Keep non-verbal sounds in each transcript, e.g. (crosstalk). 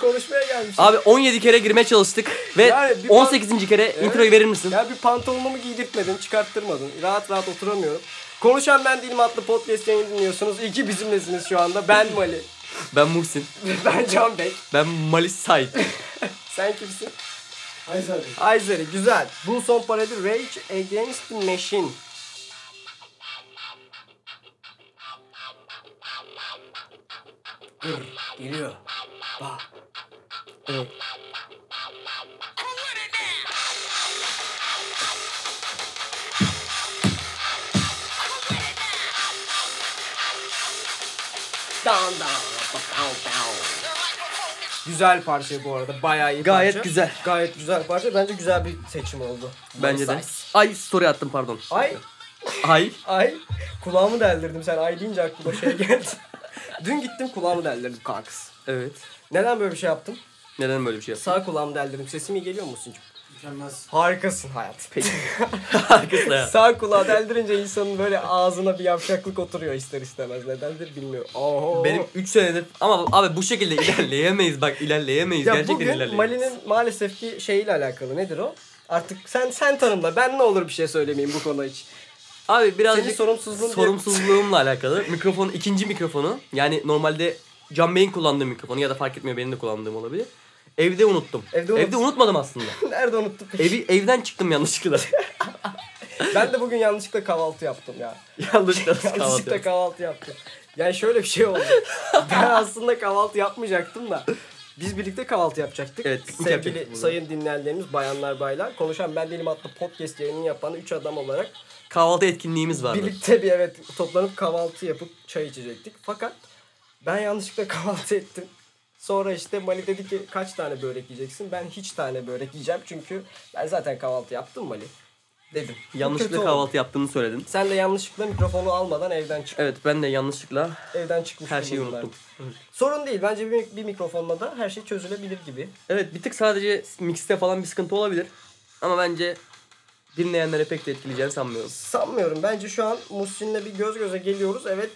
konuşmaya gelmiş. Abi 17 kere girmeye çalıştık ve Yani bir 18. kere introyu verir misin? Ya bir pantolonumu giydirtmedin, çıkarttırmadın. Rahat rahat oturamıyorum. Konuşan ben değilim adlı podcast yayını dinliyorsunuz. İyi ki bizimlesiniz şu anda. Ben Mali. (laughs) Ben Muhsin. ben Can Bey. Ben Malis (laughs) Said. Sen kimsin? Hayır abi. Ayzer'i güzel. Bu son parodi Rage Against the Machine. Gır, geliyor. Bak. Evet. Down, down, down, down. Güzel parça bu arada. Bayağı iyi Gayet parça. güzel. Gayet güzel parça. Bence güzel bir seçim oldu. Bence de. Nice. Ay story attım pardon. Ay Ay. ay kulağımı deldirdim sen ay deyince aklıma şey geldi. (laughs) Dün gittim kulağımı deldirdim kanks. Evet. Neden böyle bir şey yaptım? Neden böyle bir şey yaptın? Sağ kulağımı deldirdim. Sesim iyi geliyor musun? Mükemmel. Harikasın (laughs) hayat. Peki. Arkasına (laughs) (laughs) ya. Sağ kulağı deldirince insanın böyle ağzına bir yavşaklık oturuyor ister istemez. Nedendir bilmiyorum. Oho. Benim 3 senedir ama abi bu şekilde ilerleyemeyiz bak ilerleyemeyiz. ya Gerçekten bugün ilerleyemeyiz. Mali'nin maalesef ki şeyiyle alakalı. Nedir o? Artık sen sen tanımla. Ben ne olur bir şey söylemeyeyim bu konu için. Abi birazcık Senin sorumsuzluğun diye- sorumsuzluğumla alakalı. Mikrofon ikinci mikrofonu. Yani normalde Can Bey'in kullandığı mikrofonu ya da fark etmiyor benim de kullandığım olabilir. Evde unuttum. Evde Evde, unut- unutmadım aslında. Nerede unuttum? peki? Evi evden çıktım yanlışlıkla. Ben de bugün yanlışlıkla kahvaltı yaptım ya. yanlışlıkla kahvaltı Yanlışlıkla yaptım. kahvaltı yaptım. Yani şöyle bir şey oldu. ben aslında kahvaltı yapmayacaktım da. Biz birlikte kahvaltı yapacaktık. Evet, piknik Sevgili yapacaktık burada. sayın dinleyenlerimiz, bayanlar baylar. Konuşan ben değilim hatta podcast yayını yapan üç adam olarak Kahvaltı etkinliğimiz vardı. birlikte bir evet toplanıp kahvaltı yapıp çay içecektik. Fakat ben yanlışlıkla (laughs) kahvaltı ettim. Sonra işte Mali dedi ki kaç tane börek yiyeceksin? Ben hiç tane börek yiyeceğim çünkü ben zaten kahvaltı yaptım Mali. Dedim. Bu kötü yanlışlıkla oldu. kahvaltı yaptığını söyledin. Sen de yanlışlıkla mikrofonu almadan evden çık Evet ben de yanlışlıkla evden çıkmış her şeyi bulundular. unuttum. Sorun değil. Bence bir, bir mikrofonla da her şey çözülebilir gibi. Evet bir tık sadece mixte falan bir sıkıntı olabilir. Ama bence dinleyenlere pek de etkileyeceğini sanmıyorum. Sanmıyorum. Bence şu an Muhsin'le bir göz göze geliyoruz. Evet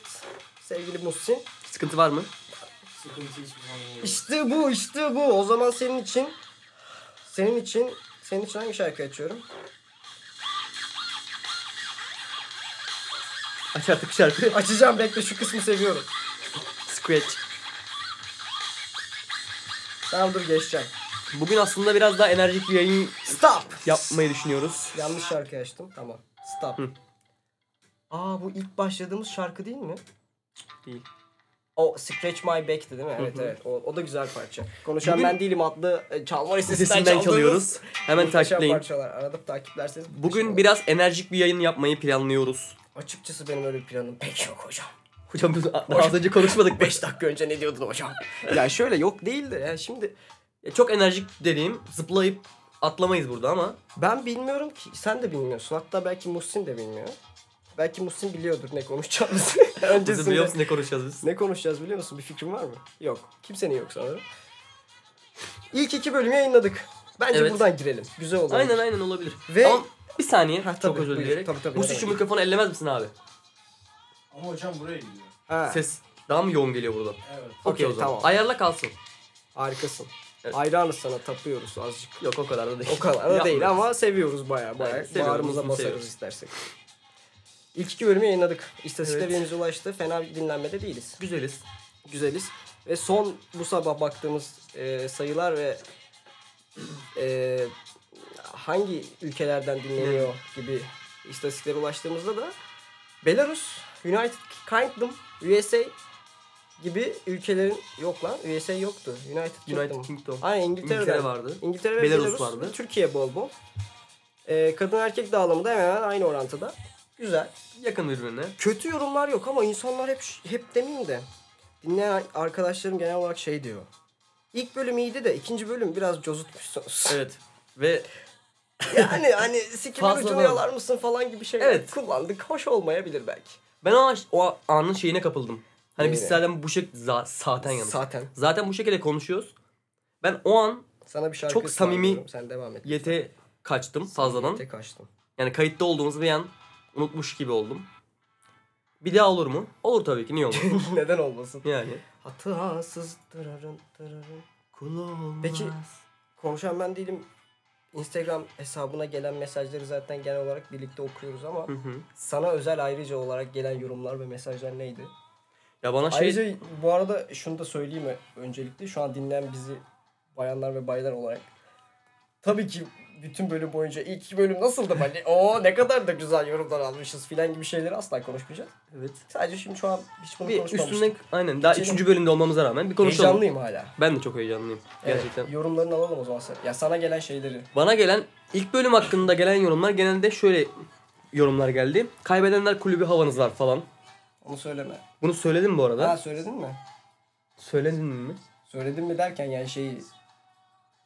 sevgili Muhsin. Sıkıntı var mı? Sıkıntı hiçbir zaman yok. İşte bu, işte bu. O zaman senin için senin için senin için hangi şarkı açıyorum? Aç artık şarkıyı. (laughs) Açacağım bekle şu kısmı seviyorum. Scratch. Tamam dur geçeceğim. Bugün aslında biraz daha enerjik bir yayın Stop. yapmayı düşünüyoruz. Yanlış şarkı açtım. Tamam. Stop. Aa bu ilk başladığımız şarkı değil mi? Değil. O Scratch My Back'ti değil mi? Evet evet. O, o da güzel parça. Konuşan Bugün- ben değilim adlı e, çalma listesinden, Sesinden çalıyoruz. Hemen Muhteşem takipleyin. parçalar. Arada takiplerseniz. Bugün biraz enerjik bir yayın yapmayı planlıyoruz. Açıkçası benim öyle bir planım pek yok hocam. Hocam biz daha az önce konuşmadık. be. 5 dakika önce ne diyordun hocam? (laughs) ya şöyle yok değil de ya şimdi E, Çok enerjik dediğim zıplayıp atlamayız burada ama ben bilmiyorum ki sen de bilmiyorsun. Hatta belki Muhsin de bilmiyor. Belki Muhsin biliyordur ne (laughs) konuşacağımızı. biz Öncesinde. biliyor musun ne konuşacağız biz? Ne konuşacağız biliyor musun? Bir fikrin var mı? Yok. Kimsenin yok sanırım. İlk iki bölümü yayınladık. Bence Evet. buradan girelim. Güzel olur. Aynen aynen olabilir. Ve- Ama bir saniye Ha, çok tabii, özür buyur. dileyerek. Tabii, tabii, Bu ne şu demek. mikrofonu ellemez misin abi? Ama hocam buraya gidiyor. Ha, Ses daha mı yoğun geliyor burada? Evet. Okey o zaman. tamam. Ayarla kalsın. Harikasın. Evet. Hayranız sana tapıyoruz azıcık. Yok o kadar da değil. O kadar da Yapmıyoruz. değil ama seviyoruz baya baya. Aynen, seviyoruz, Bağrımıza mutlu basarız seviyoruz. istersek. İlk iki bölümü yayınladık. İstatistiklerimiz Evet. ulaştı. Fena bir dinlenmede değiliz. Güzeliz. Güzeliz. Ve son bu sabah baktığımız e, sayılar ve e, hangi ülkelerden dinleniyor Hmm. gibi istatistiklere ulaştığımızda da Belarus, United Kingdom, USA gibi ülkelerin yok lan. USA yoktu. United Kingdom. United Kingdom. Aynen İngiltere'den. İngiltere vardı. İngiltere ve Belarus, Belarus vardı. ve Türkiye bol bol. Ee, kadın erkek dağılımı da hemen hemen aynı orantıda. Güzel. Yakın birbirine. Kötü yorumlar yok ama insanlar hep hep demeyeyim de dinleyen arkadaşlarım genel olarak şey diyor. İlk bölüm iyiydi de ikinci bölüm biraz cozutmuşsunuz. Evet. Ve (laughs) yani hani sikimin Fazla ucunu var. yalar mısın falan gibi şeyler Evet. kullandık. Hoş olmayabilir belki. Ben o, an- o anın şeyine kapıldım. Hani biz Neyine? zaten bu şekilde zaten yanlış. Zaten. zaten bu şekilde konuşuyoruz. Ben o an Sana bir şarkı Çok samimi- ısmarlıyorum. Sen devam et. yete kaçtım fazladan. Tek açtım. (laughs) Yani kayıtta olduğumuz bir an unutmuş gibi oldum. Bir daha olur (laughs) mu? Olur tabii ki. Niye olur? Neden olmasın? yani. Hatasız tırarın tırarın. Kul olmaz. Peki- Konuşan ben değilim. Instagram hesabına gelen mesajları zaten genel olarak birlikte okuyoruz ama Hı hı. sana özel ayrıca olarak gelen yorumlar ve mesajlar neydi? Ya bana şey Ayrıca bu arada şunu da söyleyeyim mi öncelikle şu an dinleyen bizi bayanlar ve baylar olarak. Tabii ki bütün bölüm boyunca ilk iki bölüm nasıldı hani o ne kadar da güzel yorumlar almışız filan gibi şeyleri asla konuşmayacağız. evet. Sadece şimdi şu an hiç bunu Bir konuşmamıştık. üstüne aynen daha Geçelim. üçüncü bölümde olmamıza rağmen bir konuşalım. Heyecanlıyım hala. Ben de çok heyecanlıyım Evet, gerçekten. yorumlarını alalım o zaman sen. Ya sana gelen şeyleri. Bana gelen ilk bölüm hakkında gelen yorumlar genelde şöyle yorumlar geldi. Kaybedenler kulübü havanız var falan. Onu söyleme. Bunu söyledim bu arada. Ha söyledin mi? Söyledin mi? Söyledin mi derken yani şeyi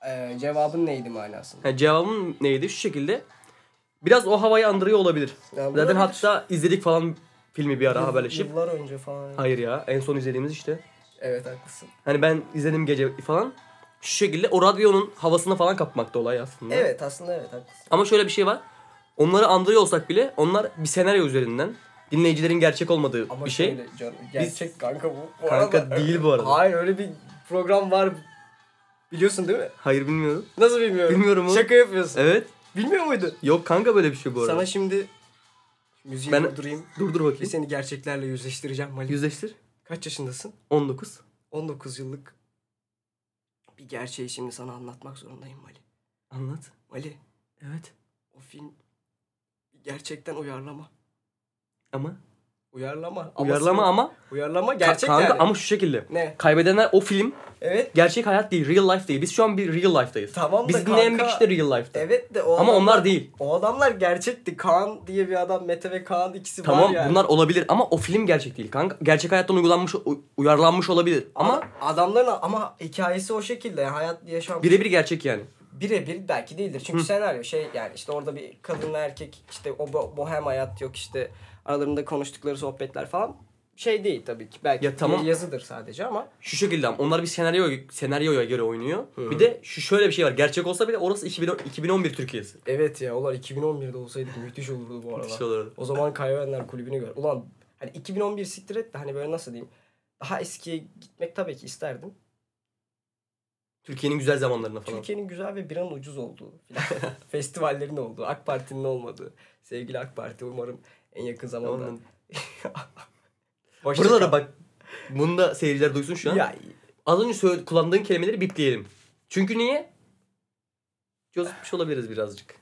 eee, cevabın neydi manasında? Ha, cevabım neydi? Şu şekilde. Biraz o havayı andırıyor olabilir. Yani Zaten olabilir. hatta izledik falan filmi bir ara Yıl- haberleşip. Yıllar önce falan. Hayır ya en son izlediğimiz işte. Evet haklısın. Hani ben izledim gece falan. Şu şekilde o radyonun havasına falan kapmakta olay aslında. Evet aslında evet haklısın. Ama şöyle bir şey var. Onları andırıyor olsak bile onlar bir senaryo üzerinden dinleyicilerin gerçek olmadığı Ama bir şey. şöyle canım, gerçek kanka bu. bu Kanka arada- değil bu arada. Hayır öyle bir program var. Biliyorsun değil mi? Hayır bilmiyorum. Nasıl bilmiyorum. Bilmiyorum oğlum. Şaka yapıyorsun. Evet. Bilmiyor muydun? Yok kanka böyle bir şey bu arada. Sana şimdi müziği Ben- durdurayım Dur dur ve bakayım. seni gerçeklerle yüzleştireceğim Malik. Yüzleştir. Kaç yaşındasın? 19. 19 yıllık bir gerçeği şimdi sana anlatmak zorundayım Mali. Anlat. Mali Evet. o film gerçekten uyarlama. Ama. Uyarlama. Uyarlama ama. Uyarlama Ka- gerçek kanka yani. ama şu şekilde. Ne? Kaybedenler o film Evet. gerçek hayat değil. Real life değil. Biz şu an bir real life'dayız. Tamam da Biz dinleyen bir kanka- kişi de real life'da. Evet de o Ama adamlar- onlar değil. O adamlar gerçekti. Kaan diye bir adam Mete ve Kaan ikisi var Tamam yani. bunlar olabilir ama o film gerçek değil kanka. Gerçek hayattan uygulanmış, u- uyarlanmış olabilir ama adamların ama hikayesi o şekilde yani hayat yaşam birebir gerçek yani. birebir belki değildir. Çünkü senaryo şey yani işte orada bir kadınla erkek işte o bo- bohem hayat yok işte aralarında konuştukları sohbetler falan şey değil tabii ki. Belki Ya tamam. bir yazıdır sadece ama Şu şekilde ama onlar bir senaryo senaryoya göre oynuyor. Bir de şu şöyle bir şey var. Gerçek olsa bile orası 2010 2011 Türkiye'si. Evet ya ulan 2011'de olsaydık müthiş olurdu bu arada. Müthiş olurdu. O zaman Kaybedenler Kulübü'nü gör. Ulan hani 2011 siktir et de hani böyle nasıl diyeyim. Daha eskiye gitmek tabii ki isterdim. Türkiye'nin güzel zamanlarına falan. Türkiye'nin güzel ve bir an ucuz olduğu filan. (laughs) Festivallerin olduğu, AK Parti'nin olmadığı. Sevgili AK Parti umarım en yakın zamanda. Onun- Hoşça Buralara kal. bak. Bunu da seyirciler duysun şu an. Ya, Az önce söyle- kullandığın kelimeleri bipleyelim. Çünkü niye? Cozutmuş olabiliriz birazcık.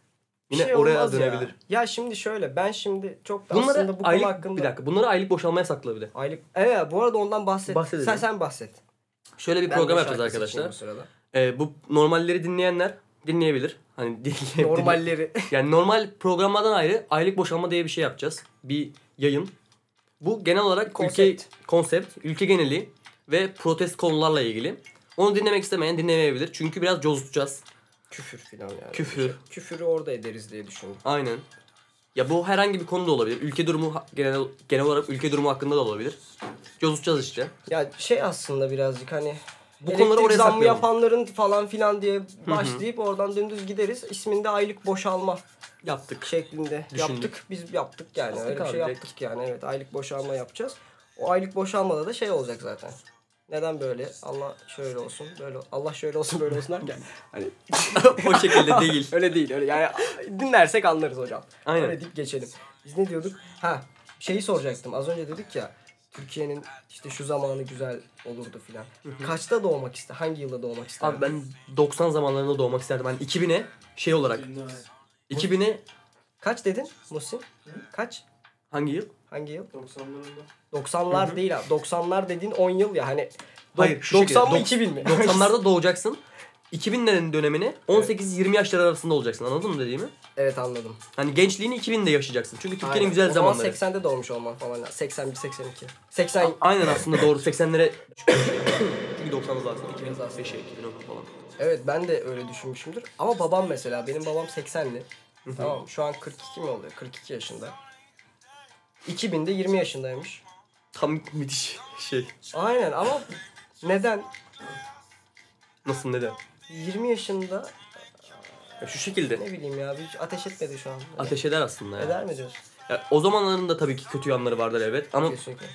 bir Yine şey oraya olmaz ya. dönebilir. Ya. şimdi şöyle ben şimdi çok da Bunları aslında bu aylık konu hakkında. bir dakika. Bunları aylık boşalmaya sakla bir de. Aylık. Evet bu arada ondan bahset. Bahsedelim. Sen sen bahset. Şöyle bir Ben program de yapacağız şarkı seçeyim arkadaşlar. bu sırada. (laughs) Ee, bu normalleri dinleyenler dinleyebilir. Hani (laughs) dinleyip Normalleri. (laughs) Yani normal programlardan ayrı aylık boşalma diye bir şey yapacağız. Bir yayın. Bu genel olarak Konsept. ülke konsept, ülke geneli ve protest konularla ilgili. Onu dinlemek istemeyen dinlemeyebilir. Çünkü biraz cozutacağız. Küfür filan yani. Küfür. Küfürü orada ederiz diye düşündüm. Aynen. Ya bu herhangi bir konu da olabilir. Ülke durumu ha- genel genel olarak ülke durumu hakkında da olabilir. Cozutacağız işte. Ya şey aslında birazcık hani Bu bu konuları konuları oraya zammı saklayalım. yapanların falan filan diye başlayıp oradan dümdüz gideriz. İsminde aylık boşalma Yaptık. şeklinde Düşündük. yaptık. Biz yaptık yani. Yaptık Öyle bir abi, şey direkt. yaptık yani. Evet aylık boşalma yapacağız. O aylık boşalmada da şey olacak zaten. Neden böyle? Allah şöyle olsun, böyle Allah şöyle olsun, böyle olsun derken. Hani (laughs) o şekilde değil. (laughs) öyle değil, öyle yani dinlersek anlarız hocam. Aynen. Öyle deyip geçelim. Biz ne diyorduk? Ha, şeyi soracaktım. Az önce dedik ya Türkiye'nin işte şu zamanı güzel olurdu filan. Kaçta doğmak ister? Hangi yılda doğmak ister? Abi ben 90 zamanlarında doğmak isterdim. Hani 2000'e şey olarak. Bilmem. 2000'e Kaç dedin Muhsin? Kaç? (laughs) hangi yıl? Hangi yıl? 90'larında. 90'lar değil abi. 90'lar dediğin 10 yıl ya hani. Do- Hayır, şu 90 mı şekilde, 2000 mi? 90'larda doğacaksın. 2000'lerin dönemini 18-20 yaşları arasında olacaksın. Anladın mı dediğimi? evet anladım. Hani gençliğini 2000'de yaşayacaksın. Çünkü Türkiye'nin Aynen. güzel O zaman zamanları. 80'de doğmuş olman falan lazım. 81 82. 80 Aynen (laughs) aslında doğru 80'lere çünkü 90'lar zaten 2005'e 2010 falan. Evet ben de öyle düşünmüşümdür. Ama babam mesela benim babam 80'li. tamam mı? şu an 42 mi oluyor? 42 yaşında. 2000'de 20 yaşındaymış. Tam müthiş şey. Aynen ama neden? Nasıl neden? 20 yaşında Ya şu şekilde ne bileyim ya hiç ateş etmedi şu an. ateş eder aslında ya. Eder mi diyorsun? ya. O zamanların da tabii ki kötü yanları vardır elbet ama Kesinlikle.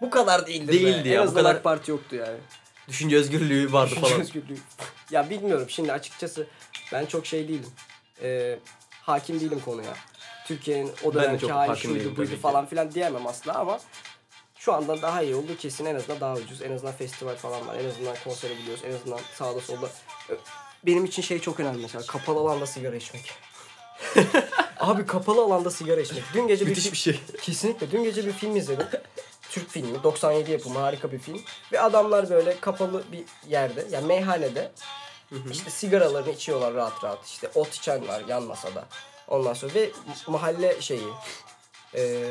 Bu kadar değildi. Değildi ya, En bu azından kadar- AK Parti yoktu yani. Düşünce özgürlüğü vardı falan. Özgürlüğü. ya bilmiyorum şimdi açıkçası ben çok şey değilim. Ee, hakim değilim konuya. Türkiye'nin o Ben de dönemki çok hali hakim değilim şuydu buydu tabii ki. falan filan diyemem aslında ama şu anda daha iyi oldu kesin en azından daha ucuz. En azından festival falan var. En azından konsere gidiyoruz. En azından sağda solda. Ö- Benim için şey çok önemli mesela kapalı alanda sigara (laughs) içmek. Abi kapalı alanda sigara içmek. Dün gece bir, Müthiş bir şey. Kesinlikle. Dün gece bir film izledim. Türk filmi. 97 yapımı harika bir film. Ve adamlar böyle kapalı bir yerde yani meyhanede işte sigaralarını içiyorlar rahat rahat. İşte ot içen var yan masada. Ondan sonra ve mahalle şeyi e,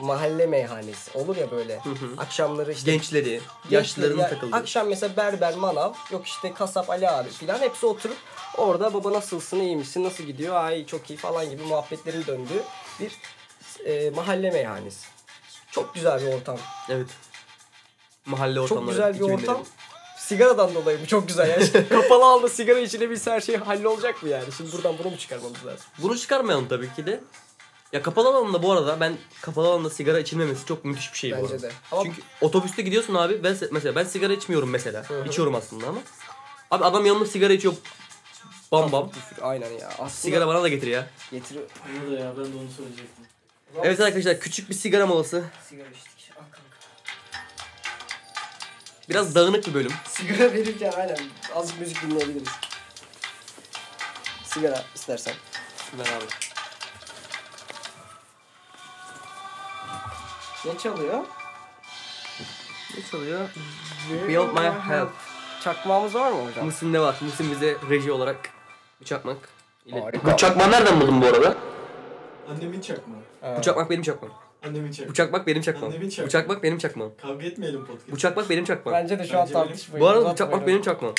mahalle meyhanesi olur ya böyle. Akşamları işte Gençleri, yaşlıların ya- takıldı. Akşam mesela berber, manav, yok işte kasap Ali abi filan hepsi oturup orada baba nasılsın, iyi misin, nasıl gidiyor, ay çok iyi falan gibi muhabbetlerin döndüğü bir e, mahalle meyhanesi. Çok güzel bir ortam. Evet. Mahalle ortamları. çok güzel bir 2000'lerin. ortam. Sigaradan dolayı mı? Çok güzel yani. (laughs) Şimdi kapalı alanda sigara içilebilse her şey hallolacak mı yani? Şimdi buradan bunu mu çıkarmamız lazım? Bunu çıkarmayalım tabii ki de. Ya kapalı alanda bu arada ben kapalı alanda sigara içilmemesi çok müthiş bir şey bu Bence arada. de. Ama- Çünkü otobüste gidiyorsun abi ben se- mesela ben sigara içmiyorum mesela. Hı hı. İçiyorum aslında ama. Abi adam yanımda sigara içiyor. Bam bam. Küfür, Aynen ya. Aslında Sigara bana da getir ya. getiriyor. Onu da ya ben de onu söyleyecektim. Evet arkadaşlar küçük bir sigara molası. Sigara içtik. Al kanka. Biraz dağınık bir bölüm. Sigara verirken aynen azıcık müzik dinleyebiliriz. Sigara istersen. abi. Ne çalıyor? Ne çalıyor? Beyond My Help. Çakmağımız var mı hocam? Muhsin ne var? Muhsin bize reji olarak bir çakmak. ile- Harika. Bu çakmağı nereden buldun bu arada? Annemin çakmağı. Ee, Bu çakmak benim çakmağım. Annemin çakmağı. Bu çakmak benim çakmağım. Annemin çakmağı. Bu çakmak benim çakmağım. Kavga etmeyelim podcast. Bu çakmak benim çakmağım. Bence de şu an Bence benim- tartışmayın. Bu arada bu uzatmayın çakmak onu. benim çakmağım.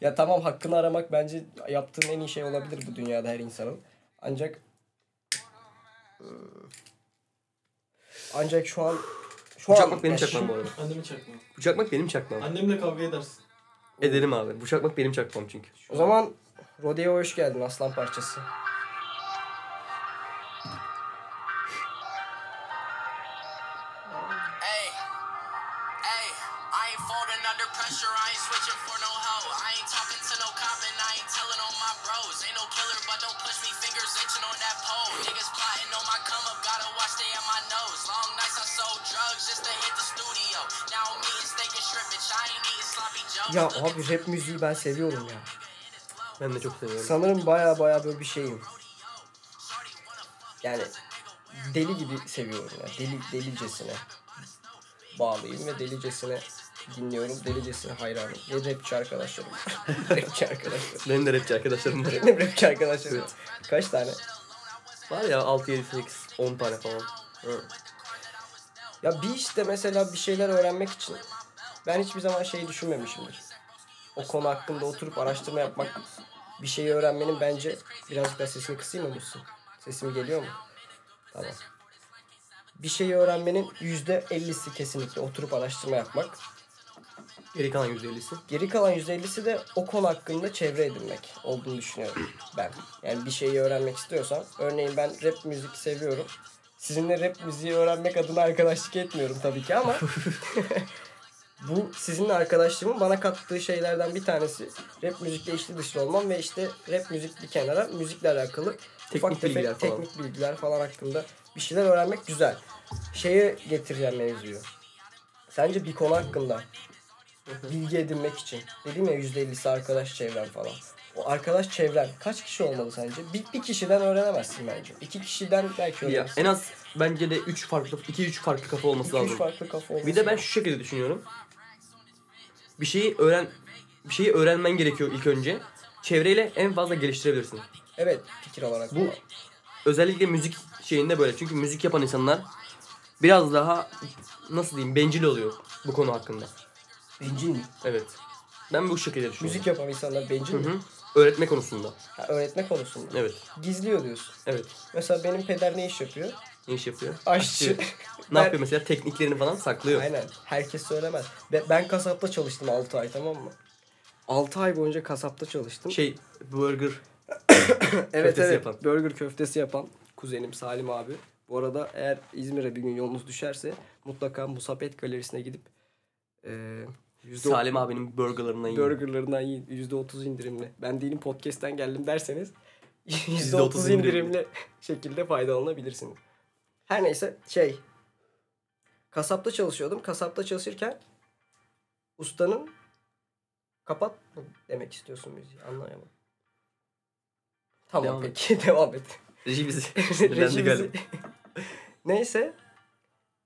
Ya tamam hakkını aramak bence yaptığın en iyi şey olabilir bu dünyada her insanın. Ancak... Ancak şu an... Şu Bu an- çakmak benim Ya çakmağım bu şimdi- arada. Annemin çakmağı. Bu çakmak benim çakmağım. Annemle kavga edersin. Ederim abi. Bu çakmak benim çakmağım çünkü. O zaman Rodeo'ya hoş geldin aslan parçası. Hey, hey, I ain't folding under pressure. I ain't switching for no hoe. I ain't talking to no comment. I ain't telling on my bros. Ain't no killer, but don't push me. Fingers itching on that pole. Niggas plotting on my come up. Gotta watch they at my nose. Long nights I sold drugs just to hit the studio. Now I'm eating steak and shrimpage. I ain't eating sloppy joes. Ya abi rap müziği ben seviyorum ya. Ben de çok seviyorum. Sanırım baya baya böyle bir şeyim. Yani deli gibi seviyorum ya. Deli, delicesine bağlıyım ve delicesine dinliyorum. Delicesine hayranım. Ve rapçi arkadaşlarım. (laughs) var. rapçi arkadaşlarım. Benim de rapçi arkadaşlarım (laughs) var. Benim rapçi arkadaşlarım. var. Kaç tane? var ya 6, 7, 8, 10 tane falan. Ya bir işte mesela bir şeyler öğrenmek için ben hiçbir zaman şeyi düşünmemişimdir. O konu hakkında oturup araştırma yapmak bir şeyi öğrenmenin bence birazcık daha sesini kısayım mı Muhsin? Sesim geliyor mu? Tamam. Bir şeyi öğrenmenin yüzde ellisi kesinlikle oturup araştırma yapmak. Geri kalan %50'si. Geri kalan yüzde ellisi de o konu hakkında çevre edinmek olduğunu düşünüyorum ben. Yani bir şeyi öğrenmek istiyorsam örneğin ben rap müzik seviyorum. Sizinle rap müziği öğrenmek adına arkadaşlık etmiyorum tabii ki (laughs) ama bu sizinle arkadaşlığımın bana kattığı şeylerden bir tanesi rap müzikle içli dışlı olmam ve işte rap müzik bir kenara müzikle alakalı Teknik bilgiler falan. teknik bilgiler falan hakkında bir şeyler öğrenmek güzel. Şeye getireceğim mevzuyu. Sence bir konu hakkında bilgi edinmek için dedim ya %50'si arkadaş çevren falan. O arkadaş çevren kaç kişi olmalı sence? Bir, bir kişiden öğrenemezsin bence. İki kişiden belki Ya, öğrenirsin. en az bence de 3 farklı, 2-3 farklı kafa olması İki, üç lazım. farklı kafa olması Bir de ben lazım. şu şekilde düşünüyorum. Bir şeyi öğren bir şeyi öğrenmen gerekiyor ilk önce. Çevreyle en fazla geliştirebilirsin. Evet fikir olarak. Bu özellikle müzik şeyinde böyle. Çünkü müzik yapan insanlar biraz daha nasıl diyeyim bencil oluyor bu konu hakkında. bencil mi? Evet. Ben bu şekilde düşünüyorum. Müzik yapan insanlar bencil mi? Hı hı. Öğretme konusunda. Ha, öğretme konusunda. Evet. Gizliyor diyorsun. Evet. Mesela benim peder ne iş yapıyor? Ne iş yapıyor? Aşçı. (laughs) Ne yapıyor mesela? Tekniklerini falan saklıyor. Aynen. Herkes söylemez. Be- Ben kasapta çalıştım 6 ay tamam mı? 6 ay boyunca kasapta çalıştım. Şey burger evet köftesi evet. yapan. Burger köftesi yapan kuzenim Salim abi. Bu arada eğer İzmir'e bir gün yolunuz düşerse mutlaka Musabet Galerisi'ne gidip eee Yüzde Salim abinin burgerlarından yiyin. burgerlarından yiyin. %30 indirimli. Ben değilim podcast'ten geldim derseniz (laughs) %30 %30 indirimli (laughs) şekilde faydalanabilirsiniz. Her neyse şey kasapta çalışıyordum. Kasapta çalışırken ustanın kapat mı demek istiyorsun müziği anlayamadım. Tamam Devam et. peki (laughs) devam et. Reji bizi. Reji Sinirlendi bizi- galiba. (laughs) Neyse.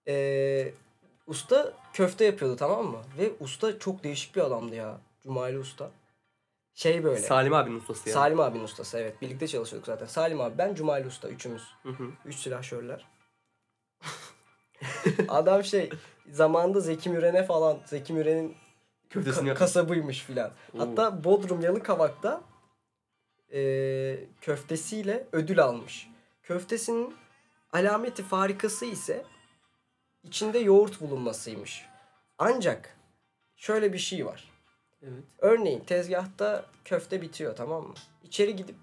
Ee, usta köfte yapıyordu tamam mı? Ve usta çok değişik bir adamdı ya. Cumali Usta. Şey böyle. Salim abinin ustası ya. Salim abinin ustası evet. Birlikte çalışıyorduk zaten. Salim abi ben Cumali Usta üçümüz. Hı hı. Üç silahşörler. (laughs) Adam şey zamanında Zeki Müren'e falan Zeki Müren'in Köftesini ka- yap. kasabıymış filan. Oo. Hatta Bodrum Yalıkavak'ta eee köftesiyle ödül almış. Köftesinin alameti farikası ise içinde yoğurt bulunmasıymış. Ancak şöyle bir şey var. Evet. Örneğin tezgahta köfte bitiyor tamam mı? İçeri gidip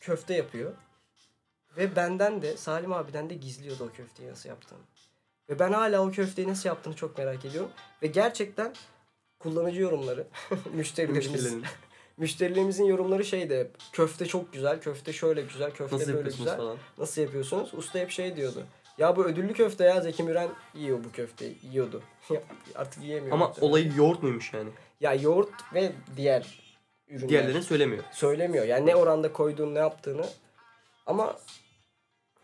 köfte yapıyor. Ve benden de Salim abiden de gizliyordu o köfteyi nasıl yaptığını. Ve ben hala o köfteyi nasıl yaptığını çok merak ediyorum. Ve gerçekten kullanıcı yorumları, (laughs) müşterilerimiz, Müşterilerin. (laughs) müşterilerimizin yorumları şey de hep, köfte çok güzel, köfte şöyle güzel, köfte Nasıl böyle yapıyorsunuz güzel. falan. Nasıl yapıyorsunuz? Usta hep şey diyordu. Ya bu ödüllü köfte ya Zeki Müren yiyor bu köfteyi. Yiyordu. (laughs) Artık yiyemiyor. Ama muhtemelen. olayı yoğurt muymuş yani? Ya yoğurt ve diğer ürünler Diğerlerini söylemiyor. söylemiyor. Yani ne oranda koyduğunu, ne yaptığını. Ama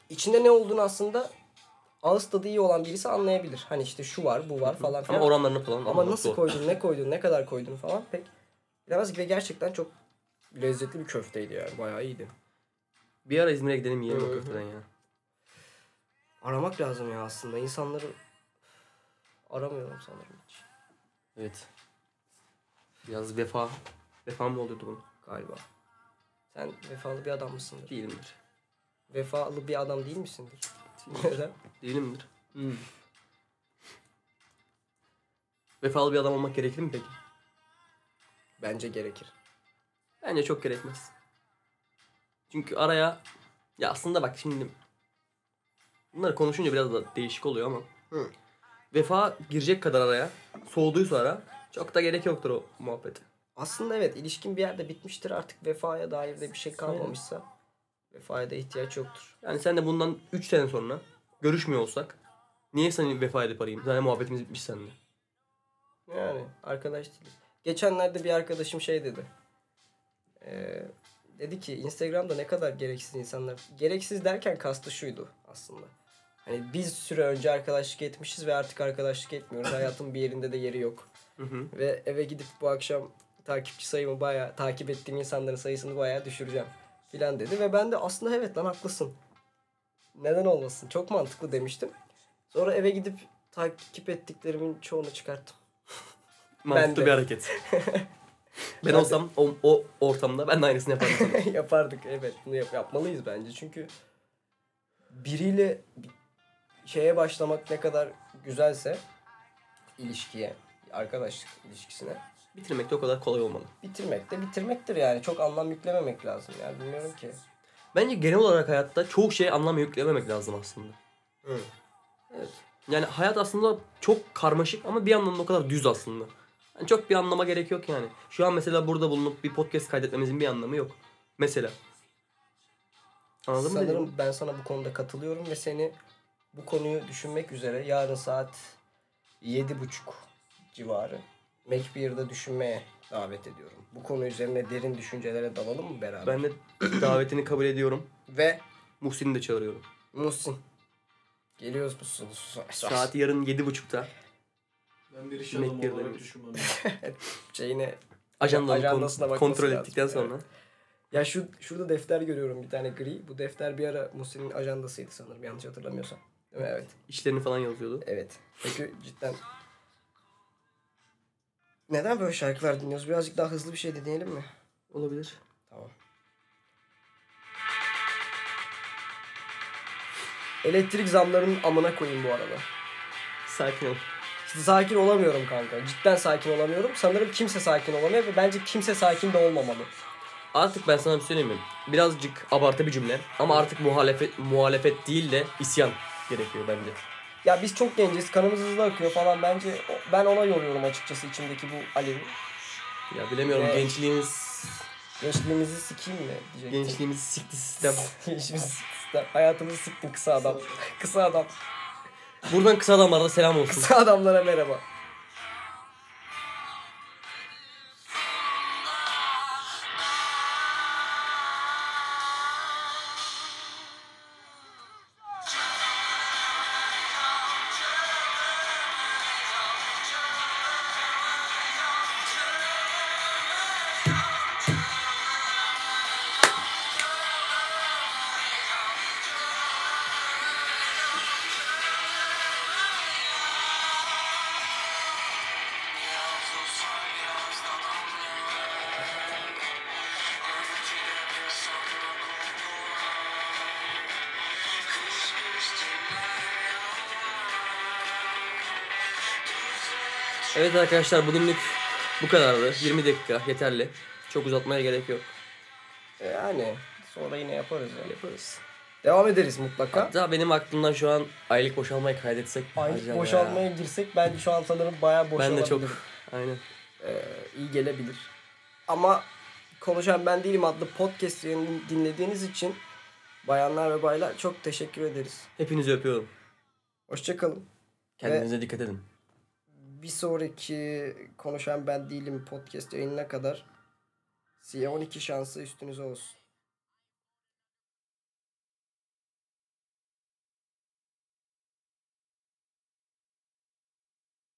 içinde ne olduğunu aslında ağız tadı iyi olan birisi anlayabilir. Hani işte şu var, bu var falan filan. Ama oranlarını falan. Ama anlamak nasıl zor. koydun, ne koydun, ne kadar koydun falan pek bilemez ve gerçekten çok lezzetli bir köfteydi yani. Bayağı iyiydi. Bir ara İzmir'e gidelim yiyelim Hı o hı. köfteden ya. Aramak lazım ya aslında. İnsanları aramıyorum sanırım hiç Evet. Biraz vefa. Vefa mı oluyordu bunun? galiba. Sen vefalı bir adam mısındır? Değilimdir. Vefalı bir adam değil misindir? Neden? Değilimdir. Vefalı bir adam olmak gerekir mi peki? Bence gerekir. Bence çok gerekmez. Çünkü araya... Ya aslında bak şimdi... Bunları konuşunca biraz da değişik oluyor ama... Hı. Vefa girecek kadar araya, soğuduysa ara... Çok da gerek yoktur o muhabbete. Aslında evet ilişkin bir yerde bitmiştir artık vefaya dair de bir şey kalmamışsa vefaya da ihtiyaç yoktur. Yani sen de bundan 3 sene sonra görüşmüyor olsak... Niye seni vefa edip arayayım? Zaten muhabbetimiz bitmiş seninle. Yani arkadaş değiliz. Geçenlerde bir arkadaşım şey dedi. Ee, dedi ki Instagram'da ne kadar gereksiz insanlar. Gereksiz derken kastı şuydu aslında. Hani biz süre önce arkadaşlık etmişiz ve artık arkadaşlık etmiyoruz. Hayatın bir yerinde de yeri yok. Hı hı. Ve eve gidip bu akşam takipçi sayımı bayağı takip ettiğim insanların sayısını bayağı düşüreceğim filan dedi ve ben de aslında evet lan haklısın. Neden olmasın? Çok mantıklı demiştim. Sonra eve gidip takip ettiklerimin çoğunu çıkarttım. Ben de. Mantıklı bir hareket. (laughs) ben olsam o, o ortamda ben de aynısını yapardım. (laughs) sana. Yapardık evet bunu yap- yapmalıyız bence çünkü biriyle bi- şeye başlamak ne kadar güzelse ilişkiye, arkadaşlık ilişkisine Bitirmek de o kadar kolay olmalı. bitirmek de bitirmektir yani çok anlam yüklememek lazım yani bilmiyorum ki. Bence genel olarak hayatta çoğu şeye anlam yüklememek lazım aslında. Hı. Evet. Yani hayat aslında çok karmaşık ama bir anlamda o kadar düz aslında. Yani çok bir anlama gerek yok yani. Şu an mesela burada bulunup bir podcast kaydetmemizin bir anlamı yok. Mesela. Anladın mı? Sanırım dediğimi? ben sana bu konuda katılıyorum ve seni bu konuyu düşünmek üzere yarın saat yedi buçuk civarı Macbeer'da düşünmeye davet ediyorum. Bu konu üzerine derin düşüncelere dalalım mı beraber? Ben de davetini kabul ediyorum. Ve Muhsin'i de çağırıyorum. Muhsin. Geliyoruz musunuz? Saat Saat yarın 7.30'da. Ben bir iş Yemek adamı yerine olarak götür. düşünmem. şeyine. Ajandasına Ajandasını bakması kontrol lazım. ettikten sonra. Ya şu şurada defter görüyorum bir tane gri. Bu defter bir ara Muhsin'in ajandasıydı sanırım yanlış hatırlamıyorsam. Değil mi? Evet. işlerini falan yazıyordu. Evet. Çünkü cidden neden böyle şarkılar dinliyoruz? Birazcık daha hızlı bir şey de diyelim mi? Olabilir. Tamam. Elektrik zamlarının amına koyayım bu arada. Sakin ol. İşte sakin olamıyorum kanka. Cidden sakin olamıyorum. Sanırım kimse sakin olamıyor ve bence kimse sakin de olmamalı. Artık ben sana bir şey söyleyeyim mi? Birazcık abartı bir cümle ama artık muhalefet muhalefet değil de isyan gerekiyor bence. Ya biz çok genciz, kanımız hızlı akıyor falan. Bence o- ben ona yoruyorum açıkçası içimdeki bu alevi. Ya bilemiyorum Evet. gençliğimiz Gençliğimizi sikeyim mi diyecektim. gençliğimiz sikti sistem. (laughs) Gençliğimizi siktim. Hayatımızı siktin kısa adam. kısa adam. Buradan kısa adamlara da selam olsun. Kısa adamlara merhaba. Evet arkadaşlar bugünlük bu kadardı. 20 dakika yeterli. Çok uzatmaya gerek yok. E, Yani sonra yine yaparız ya. Yaparız. Devam ederiz mutlaka. Hatta benim aklımdan şu an aylık boşalmayı kaydetsek. Ay acaba boşalmaya ya. girsek ben şu an sanırım bayağı Ben de boşalabilirim. çok. Aynen. Ee, iyi gelebilir. Ama Konuşan Ben Değilim adlı podcast yayınını dinlediğiniz için bayanlar ve baylar çok teşekkür ederiz. Hepinizi öpüyorum. Hoşçakalın. Kendinize dikkat edin. Bir sonraki Konuşan Ben Değilim podcast yayınına kadar C12 şansı üstünüze olsun.